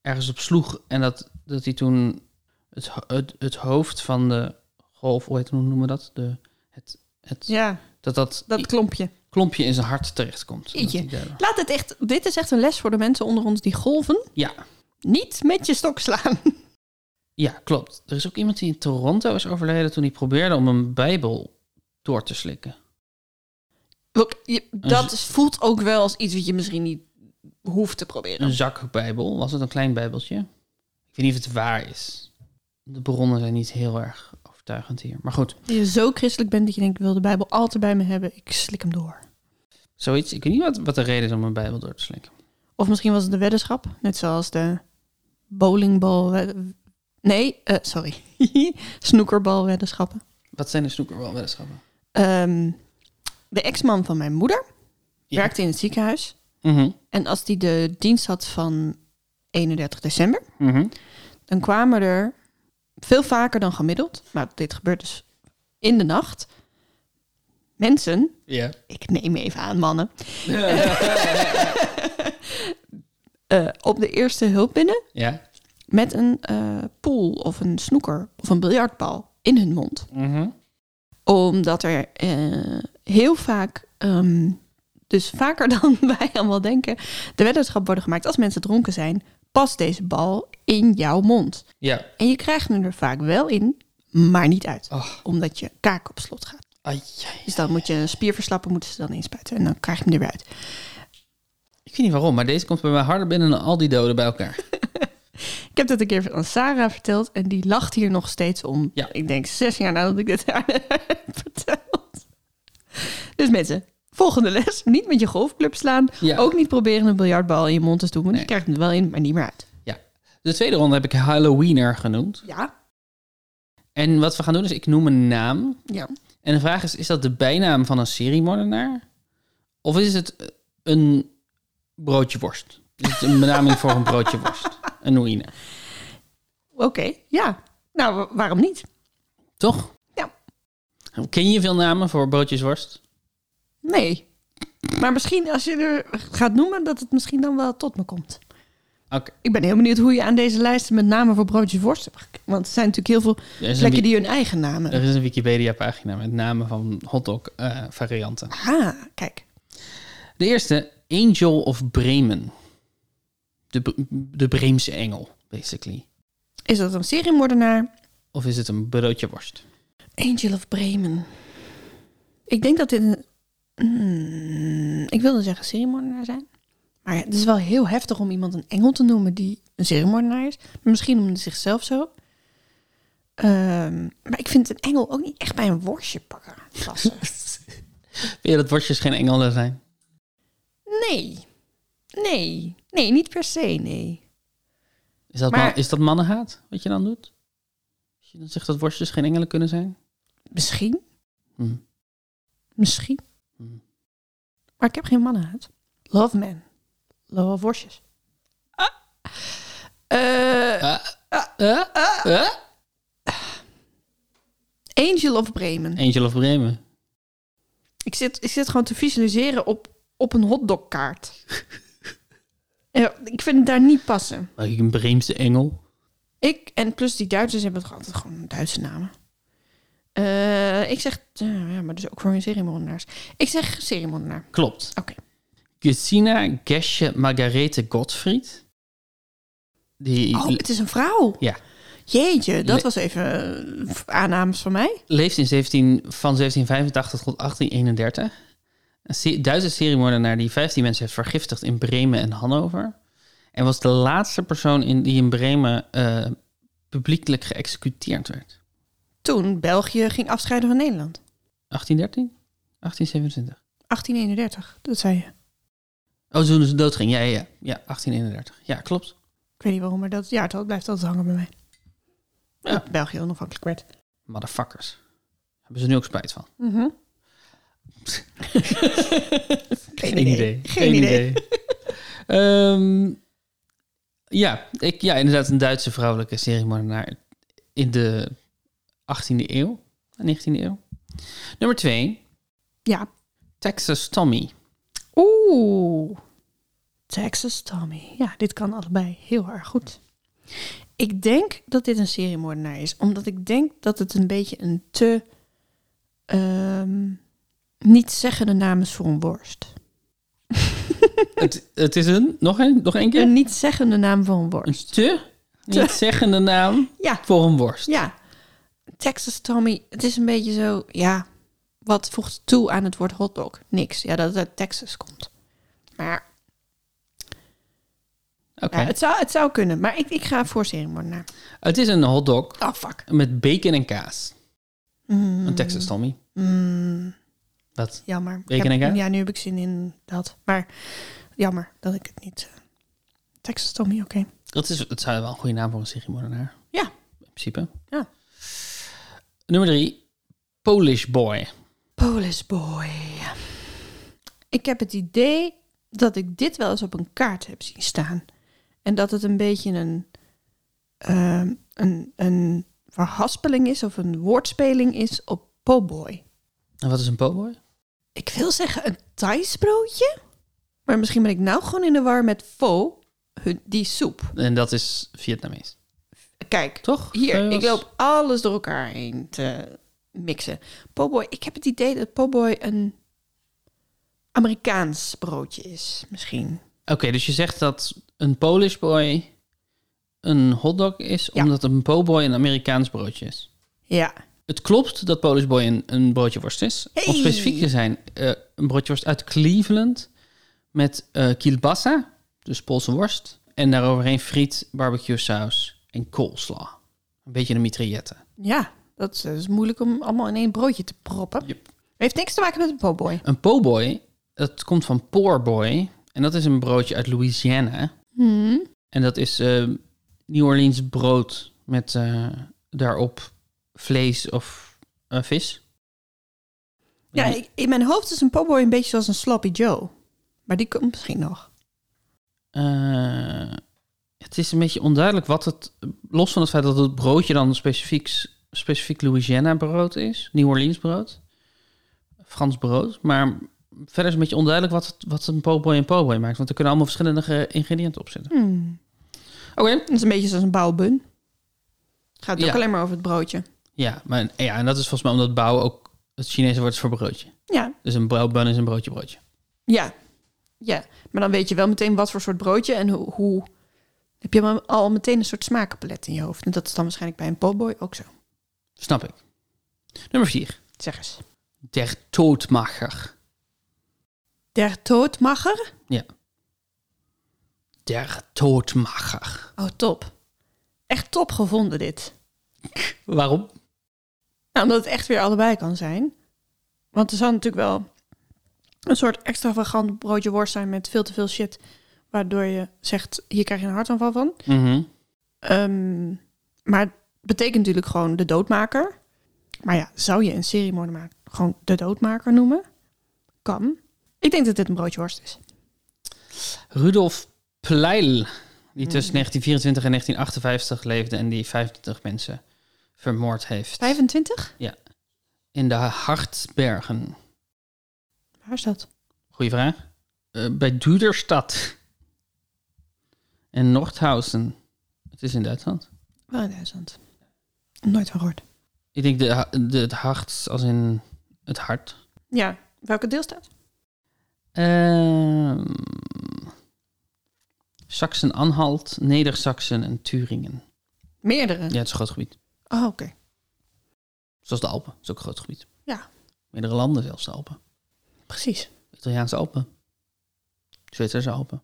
ergens op sloeg. En dat, dat hij toen het, ho- het, het hoofd van de golf, hoe, heet, hoe noemen we dat? De, het, het, Ja, Dat dat, dat klompje. klompje in zijn hart terechtkomt. Dat Jeetje. hij daardoor- Laat het echt... Dit is echt een les voor de mensen onder ons die golven. Ja, Niet met je stok slaan. Ja, klopt. Er is ook iemand die in Toronto is overleden toen hij probeerde om een bijbel door te slikken. Ook- je- Dat is- voelt ook wel als iets wat je misschien niet hoeft te proberen. Een zakbijbel, was het een klein bijbeltje? Ik weet niet of het waar is. De bronnen zijn niet heel erg overtuigend hier. Maar goed, Dat je zo christelijk bent dat je denkt, ik wil de Bijbel altijd bij me hebben. Ik slik hem door. zoiets. Ik weet niet wat, wat de reden is om een bijbel door te slikken. Of misschien was het een weddenschap, net zoals de bowlingbal. Nee, eh, sorry. Snoekerbalweddenschappen. Wat zijn de snoekerbalweddenschappen? Ehm, de ex-man van mijn moeder Ja. werkte in het ziekenhuis. Mhm, En als die de dienst had van 31 december, mhm. dan kwamen er veel vaker dan gemiddeld, maar dit gebeurt dus in de nacht, mensen, Ja. ik neem even aan mannen, eh, op de eerste hulp binnen Ja. met een eh, pool of een snoeker of een biljartbal in hun mond. Mhm. Omdat er eh, heel vaak, ehm, dus vaker dan wij allemaal denken, de weddenschap worden gemaakt als mensen dronken zijn, past deze bal in jouw mond. Ja. En je krijgt hem er vaak wel in, maar niet uit. Ach. Omdat je kaak op slot gaat. Ai, ai. Dus dan moet je een spier verslappen, moeten ze dan inspuiten. En dan krijg je hem er weer uit. Ik weet niet waarom, maar deze komt bij mij harder binnen dan al die doden bij elkaar. Ik heb dat een keer aan Sarah verteld. En die lacht hier nog steeds om. Ja. Ik denk zes jaar nadat ik dit haar heb verteld. Dus mensen, volgende les. Niet met je golfclub slaan. Ja. Ook niet proberen een biljartbal in je mond te doen. Want Nee. je krijgt hem er wel in, maar niet meer uit. De tweede ronde heb ik Halloweener genoemd. Ja. En wat we gaan doen is, ik noem een naam. Ja. En de vraag is, is dat de bijnaam van een seriemoordenaar? Of is het eh, een broodje worst? Is het een benaming voor een broodje worst? Een ruïne. Oké, ja. Nou, wa- waarom niet? Toch? Ja. Ken je veel namen voor broodjes worst? Nee. Maar misschien als je er gaat noemen, dat het misschien dan wel tot me komt. Oké. Ik ben heel benieuwd hoe je aan deze lijst met namen voor broodjes worst hebt gekeken. Want er zijn natuurlijk heel veel Er is, een, Eh. plekken wi- die hun eigen namen er is een Wikipedia pagina met namen van hotdog eh, varianten. Ah, kijk. De eerste, Angel of Bremen. De, Bre- de Breemse engel, basically. Is dat een seriemoordenaar? Of is het een broodje worst? Angel of Bremen. Ik denk dat dit een... Hmm, ik wilde zeggen seriemoordenaar zijn. Maar het is wel heel heftig om iemand een engel te noemen die een seriemoordenaar is. Maar misschien noemde hij zichzelf zo. Ehm, maar ik vind een engel ook niet echt bij een worstje pakken. passen. Vind je dat worstjes geen engelen zijn? nee. Nee. Nee, niet per se, nee. Is dat, Maar- man- is dat mannenhaat wat je dan doet? Als je dan zegt dat worstjes geen engelen kunnen zijn? Misschien. Hm. Misschien. Hm. Maar ik heb geen mannenhaat. Love men. Love worstjes. Ah. Eh, Ah, ah, ah. Angel of Bremen. Angel of Bremen. Ik zit, ik zit gewoon te visualiseren op, op een hotdogkaart. Ja, ik vind het daar niet passen. Maak ik een Breemse engel? Ik en plus die Duitsers hebben toch altijd gewoon Duitse namen. Eh, ik zeg, eh, ja, maar dus ook voor hun seriemoordenaars. Ik zeg seriemoordenaar. Klopt. Oké. Gesina Gesche Margarethe Gottfried. Die Oh, le- het is een vrouw. Ja. Jeetje, dat Le- was even eh, aannames van mij. leeft in 17, van 1785 tot 1831. Een se- Duitse seriemoordenaar die 15 mensen heeft vergiftigd in Bremen en Hannover. En was de laatste persoon in, die in Bremen eh, publiekelijk geëxecuteerd werd. Toen België ging afscheiden van Nederland. 1813? 1827. 1831, dat zei je. Oh, toen ze dood ging. Ja, ja, ja. Ja, 1831. Ja, klopt. Ik weet niet waarom, maar dat jaartal blijft altijd hangen bij mij. Ja. Dat België onafhankelijk werd. Motherfuckers. Hebben ze nu ook spijt van? Mhm. Geen idee. Geen idee. Ehm, ja, ik, ja, inderdaad een Duitse vrouwelijke seriemoordenaar in de 18e eeuw. 19e eeuw. Nummer 2. Ja. Texas Tommy. Oeh. Texas Tommy. Ja, dit kan allebei heel erg goed. Ik denk dat dit een seriemoordenaar is, omdat ik denk dat het een beetje een te ehm, niet zeggende naam is voor een worst. het, het is een... Nog een, nog een keer? Een niet zeggende naam voor een Een worst. te Niet zeggende naam Ja, voor een worst. ja. Texas Tommy, het is een beetje zo, ja, wat voegt toe aan het woord hotdog? Niks. Ja, dat het uit Texas komt. Maar Oké. ja, het, zou, het zou kunnen. Maar ik, ik ga voor seriemoordenaar. Het is een hotdog Oh, fuck. met bacon en kaas. Mm, Een Texas Tommy. mm, Wat? jammer. Ik Reken ik heb- uit? Ja, nu heb ik zin in dat. Maar jammer dat ik het niet... eh, Texas Tommy, oké. Dat is, het zou wel een goede naam voor een seriemoordenaar. Ja. In principe. Ja. Nummer drie. Polish Boy. Polish boy. Ik heb het idee dat ik dit wel eens op een kaart heb zien staan. En dat het een beetje een, ehm, een, een verhaspeling is of een woordspeling is op po-boy. En wat is een po-boy? Ik wil zeggen een Thais broodje. Maar misschien ben ik nou gewoon in de war met pho, hun- die soep. En dat is Vietnamees. Kijk, Toch? Hier, Zou je ik als- loop alles door elkaar heen te mixen. Po'boy, ik heb het idee dat po'boy een Amerikaans broodje is, misschien. Oké, dus je zegt dat een Polish boy een hotdog is, Ja. omdat een po-boy een Amerikaans broodje is. Ja. Het klopt dat Polish boy een, een broodje worst is. Hey. Om specifiek te zijn, eh, een broodje worst uit Cleveland met eh kielbasa, dus Poolse worst, en daaroverheen friet, barbecue saus en coleslaw. Een beetje een mitraillette. Ja, dat is, dat is moeilijk om allemaal in één broodje te proppen. Yep. Heeft niks te maken met een po'boy. Een po-boy, dat komt van poor boy, en dat is een broodje uit Louisiana. Hmm. En dat is eh, New Orleans brood met eh, daarop vlees of eh, vis. Ja, ik- in mijn hoofd is een po'boy een beetje zoals een sloppy joe. Maar die komt misschien nog. Eh, het is een beetje onduidelijk wat het... Los van het feit dat het broodje dan specifiek, specifiek Louisiana brood is. New Orleans brood. Frans brood. Maar verder is het een beetje onduidelijk wat, het- wat een po-boy en po-boy maakt. Want er kunnen allemaal verschillende ge- ingrediënten op zitten. Hmm. Oké. Dat is een beetje zoals een bouwbun. Gaat het Ja. ook alleen maar over het broodje. Ja, maar, ja, en dat is volgens mij omdat bouw ook het Chinese woord is voor broodje. Ja, Dus een bouwbun is een broodje broodje. Ja. ja, maar dan weet je wel meteen wat voor soort broodje en hoe, hoe... Heb je dan al meteen een soort smakenpalet in je hoofd. En dat is dan waarschijnlijk bij een po'boy ook zo. Snap ik. Nummer 4. Zeg eens. Der Todmacher. Der Toodmacher? Der Todmacher. Oh, top. Echt top gevonden dit. Waarom? Nou, omdat het echt weer allebei kan zijn. Want er zal natuurlijk wel een soort extravagant broodje worst zijn met veel te veel shit. Waardoor je zegt, hier krijg je een hartaanval van. Mhm. Ehm, maar het betekent natuurlijk gewoon de doodmaker. Maar ja, zou je een seriemoordenaar gewoon de doodmaker noemen? Kan. Ik denk dat dit een broodje worst is. Rudolf Pleil, die tussen 1924 en 1958 leefde en die 25 mensen vermoord heeft. 25? In de Hartbergen. Waar is dat? Goeie vraag. Eh, bij Duderstad. En Nordhausen. Het is in Duitsland. Wel in Duitsland. Nooit van gehoord. Ik denk de, ha- de, het hart als in het hart. Ja, welke deelstaat? Ehm Sachsen-Anhalt, Neder-Saxen en Turingen. Meerdere. Ja, het is een groot gebied. Oh, oké. Zoals de Alpen, is ook een groot gebied. Ja. Meerdere landen zelfs de Alpen. Precies. Italiaanse Alpen. Zwitserse Alpen.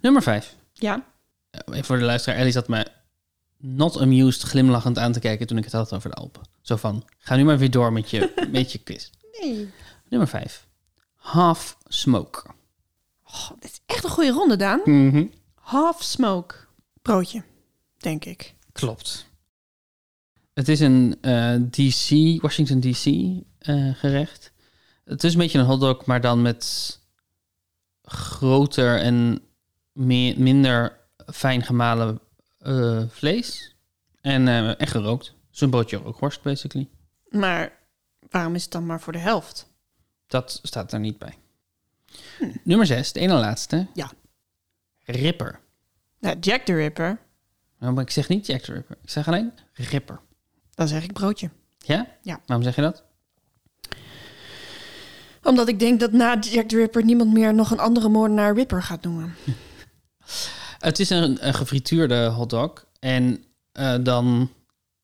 Nummer 5. Ja. Even voor de luisteraar. Ellie zat mij not amused glimlachend aan te kijken toen ik het had over de Alpen. Zo van, ga nu maar weer door met je, met je quiz. Nee. Nummer 5. Half smoke. Oh, dit is echt een goede ronde, Daan. Half smoke. Broodje, denk ik. Klopt. Het is een eh, DC, Washington DC eh, gerecht. Het is een beetje een hotdog, maar dan met groter en meer, minder fijn gemalen eh, vlees. En, eh, en gerookt. Zo'n broodje rookworst, basically. Maar waarom is het dan maar voor de helft? Dat staat er niet bij. Hm. Nummer 6, de ene laatste. Ja. Ripper. Nou, Jack the Ripper, Nou, maar ik zeg niet Jack the Ripper. Ik zeg alleen Ripper. dan zeg ik broodje. Ja? Ja. Waarom zeg je dat? Omdat ik denk dat na Jack the Ripper niemand meer nog een andere moordenaar Ripper gaat noemen. Het is een, een gefrituurde hotdog En eh, dan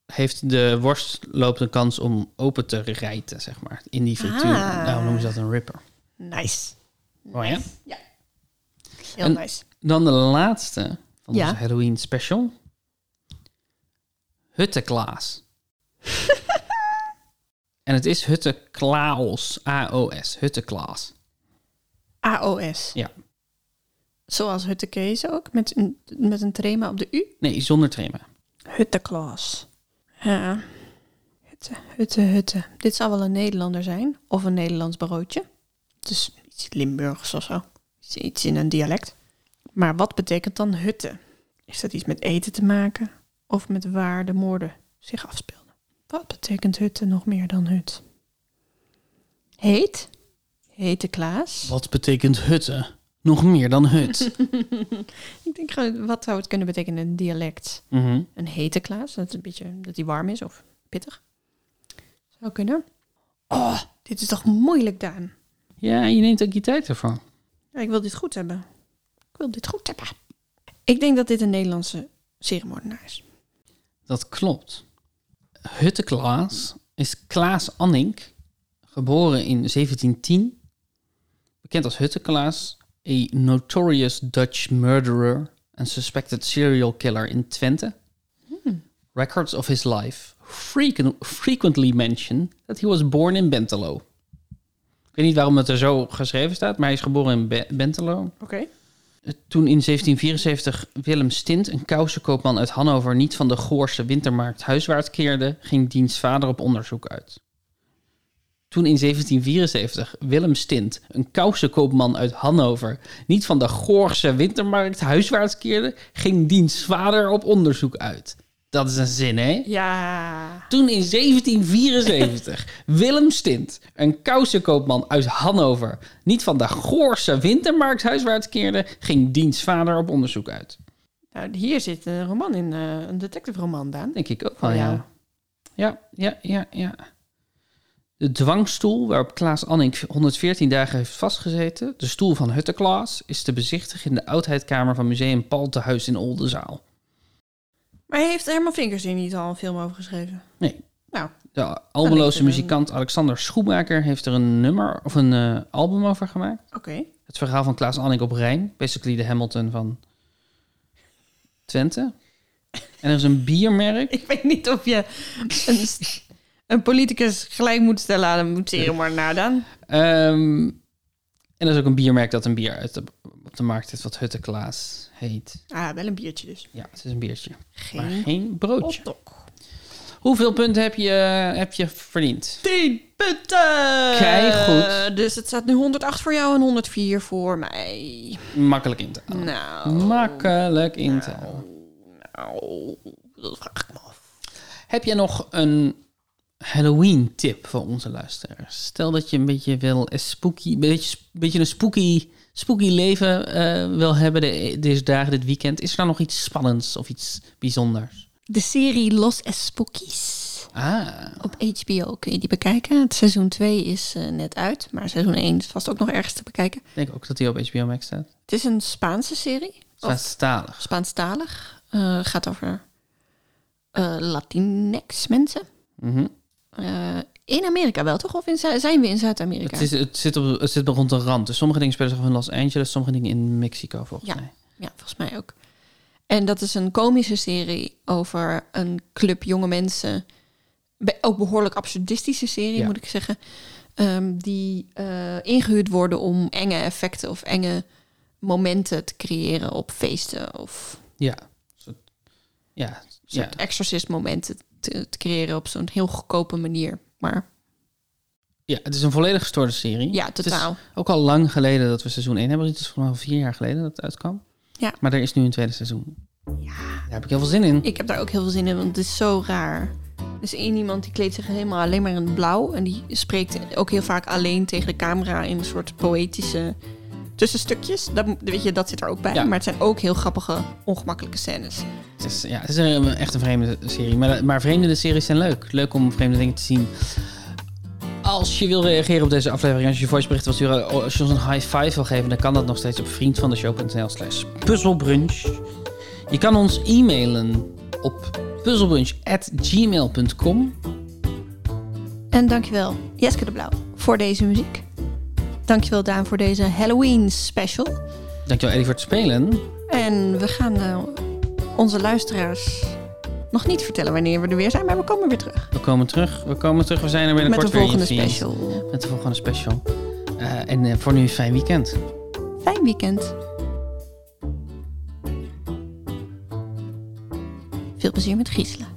heeft de worst loopt een kans om open te rijten, zeg maar. In die frituur. Ah. Nou noemen ze dat een ripper. Nice. Oh ja. Ja. Heel En- nice. Dan de laatste van Ja. onze Halloween special. Hutteklaas. en het is Hutteklaos. A-O-S. Hutteklaas. AOS. Ja. Zoals Huttekees ook, met een, met een trema op de U. Nee, zonder trema. Hutteklaas. Ja. Hutte, hutte, hutte. Dit zou wel een Nederlander zijn, of een Nederlands broodje. Dus iets Limburgs of zo. Iets- Iets in een dialect. Maar wat betekent dan hutte? Is dat iets met eten te maken? Of met waar de moorden zich afspeelden? Wat betekent hutte nog meer dan hut? Heet? Hete Klaas? Wat betekent hutte? Nog meer dan hut. Ik denk gewoon, wat zou het kunnen betekenen in een dialect? Mhm. Een hete Klaas, dat, het een beetje, dat die warm is of pittig. Zou kunnen. Oh, dit is toch moeilijk, Daan? Ja, en je neemt ook je tijd ervan. Ja, ik wil dit goed hebben. Ik wil dit goed hebben. Ik denk dat dit een Nederlandse ceremonienaar is. Dat klopt. Hutteklaas is Klaas Annink, geboren in 1710. Bekend als Hutteklaas, a notorious Dutch murderer and suspected serial killer in Twente. Records of his life frequen- frequently mention that he was born in Bentelo. Ik weet niet waarom het er zo geschreven staat, maar hij is geboren in Be- Bentelo. Oké. Toen in 1774 Willem Stint, een kousenkoopman uit Hannover, niet van de Goorse wintermarkt huiswaarts keerde, ging diens vader op onderzoek uit. Toen in 1774 Willem Stint, een kousenkoopman uit Hannover, niet van de Goorse wintermarkt huiswaarts keerde, ging diens vader op onderzoek uit. Dat is een zin, hè? Ja. Toen in 1774 Willem Stint, een kousenkoopman uit Hannover, niet van de Goorse wintermarkt huiswaarts keerde, ging diens vader op onderzoek uit. Nou, hier zit een roman in, eh, een detective roman, Daan. Denk ik ook wel, Oh, ja. ja. Ja, ja, ja, ja. De dwangstoel waarop Klaas Anning 114 dagen heeft vastgezeten, de stoel van Hutteklaas, is te bezichtigen in de oudheidkamer van Museum Paul te Huis in Oldenzaal. Maar hij heeft Herman Vinkers hier niet al een film over geschreven? Nee. Nou, De Dan is albeloze er een- muzikant Alexander Schoemaker heeft er een nummer of een eh, album over gemaakt. oké. Het verhaal van Klaas Anning op Rijn. Basically de Hamilton van Twente. En er is een biermerk. Ik weet niet of je een, s- een politicus gelijk moet stellen aan een ceremonienaar, Daan. Ehm, en er is ook een biermerk dat een bier uit de, op de markt heeft, wat Hutte Klaas heet. Ah, wel een biertje dus. Ja, het is een biertje. Maar Geen geen broodje. opdok. Hoeveel punten heb je, heb je verdiend? 10 punten! Kei goed. Dus het staat nu 108 voor jou en 104 voor mij. Makkelijk in te halen. Nou. Hm. Makkelijk in te halen. nou, dat vraag ik me af. Heb je nog een Halloween tip voor onze luisteraars? Stel dat je een beetje wil een spooky, een beetje, een beetje een spooky, spooky leven eh, wil hebben de, deze dagen, dit weekend. Is er dan nog iets spannends of iets bijzonders? De serie Los Spookies Ah, op HBO kun je die bekijken. Het seizoen 2 is eh, net uit, maar seizoen 1 is vast ook nog ergens te bekijken. ik denk ook dat die op HBO Max staat. Het is een Spaanse serie. Of Spaanstalig. Spaanstalig. Eh gaat over eh, Latinx mensen. Mhm. Eh, in Amerika wel, toch? Of in Zu- zijn we in Zuid-Amerika? Het, is, het, zit op, het zit rond de rand. Dus sommige dingen spelen zich af in Los Angeles, sommige dingen in Mexico volgens Ja. mij. Ja, volgens mij ook. En dat is een komische serie over een club jonge mensen. Be- Ook behoorlijk absurdistische serie, Ja. moet ik zeggen. Ehm, die eh, ingehuurd worden om enge effecten of enge momenten te creëren op feesten. Of Ja. Soort- Ja. ja. soort exorcist momenten te, te creëren op zo'n heel goedkope manier. Maar Ja, het is een volledig gestoorde serie. ja, Het is- totaal. Ook al lang geleden dat we seizoen 1 hebben. Het is volgens mij al vier jaar geleden dat het uitkwam. Ja. Maar er is nu een tweede seizoen. Ja. Daar heb ik heel veel zin in. Ik heb daar ook heel veel zin in, want het is zo raar. Er is één iemand die kleedt zich helemaal alleen maar in het blauw. En die spreekt ook heel vaak alleen tegen de camera in een soort poëtische tussenstukjes. Dat, weet je, dat zit er ook bij. Ja. Maar het zijn ook heel grappige, ongemakkelijke scènes. Het is, ja, het is een, echt een vreemde serie. Maar, maar vreemde series zijn leuk. Leuk om vreemde dingen te zien. Als je wil reageren op deze aflevering, als je je voicebericht wil sturen, oh, als je ons een high five wil geven, dan kan dat nog steeds op vriendvandeshow.nl slash puzzelbrunch. Je kan ons e-mailen op puzzelbunch.gmail.com. En dankjewel Jeske de Blauw voor deze muziek. Dankjewel Daan voor deze Halloween special. Dankjewel Eddie voor het spelen. En we gaan eh, onze luisteraars nog niet vertellen wanneer we er weer zijn, maar we komen weer terug. We komen terug. We komen terug. We zijn er Met binnenkort de volgende weer in je feed. special. Met de volgende special. Eh, en eh, voor nu een fijn weekend. Fijn weekend. Veel plezier met griezelen.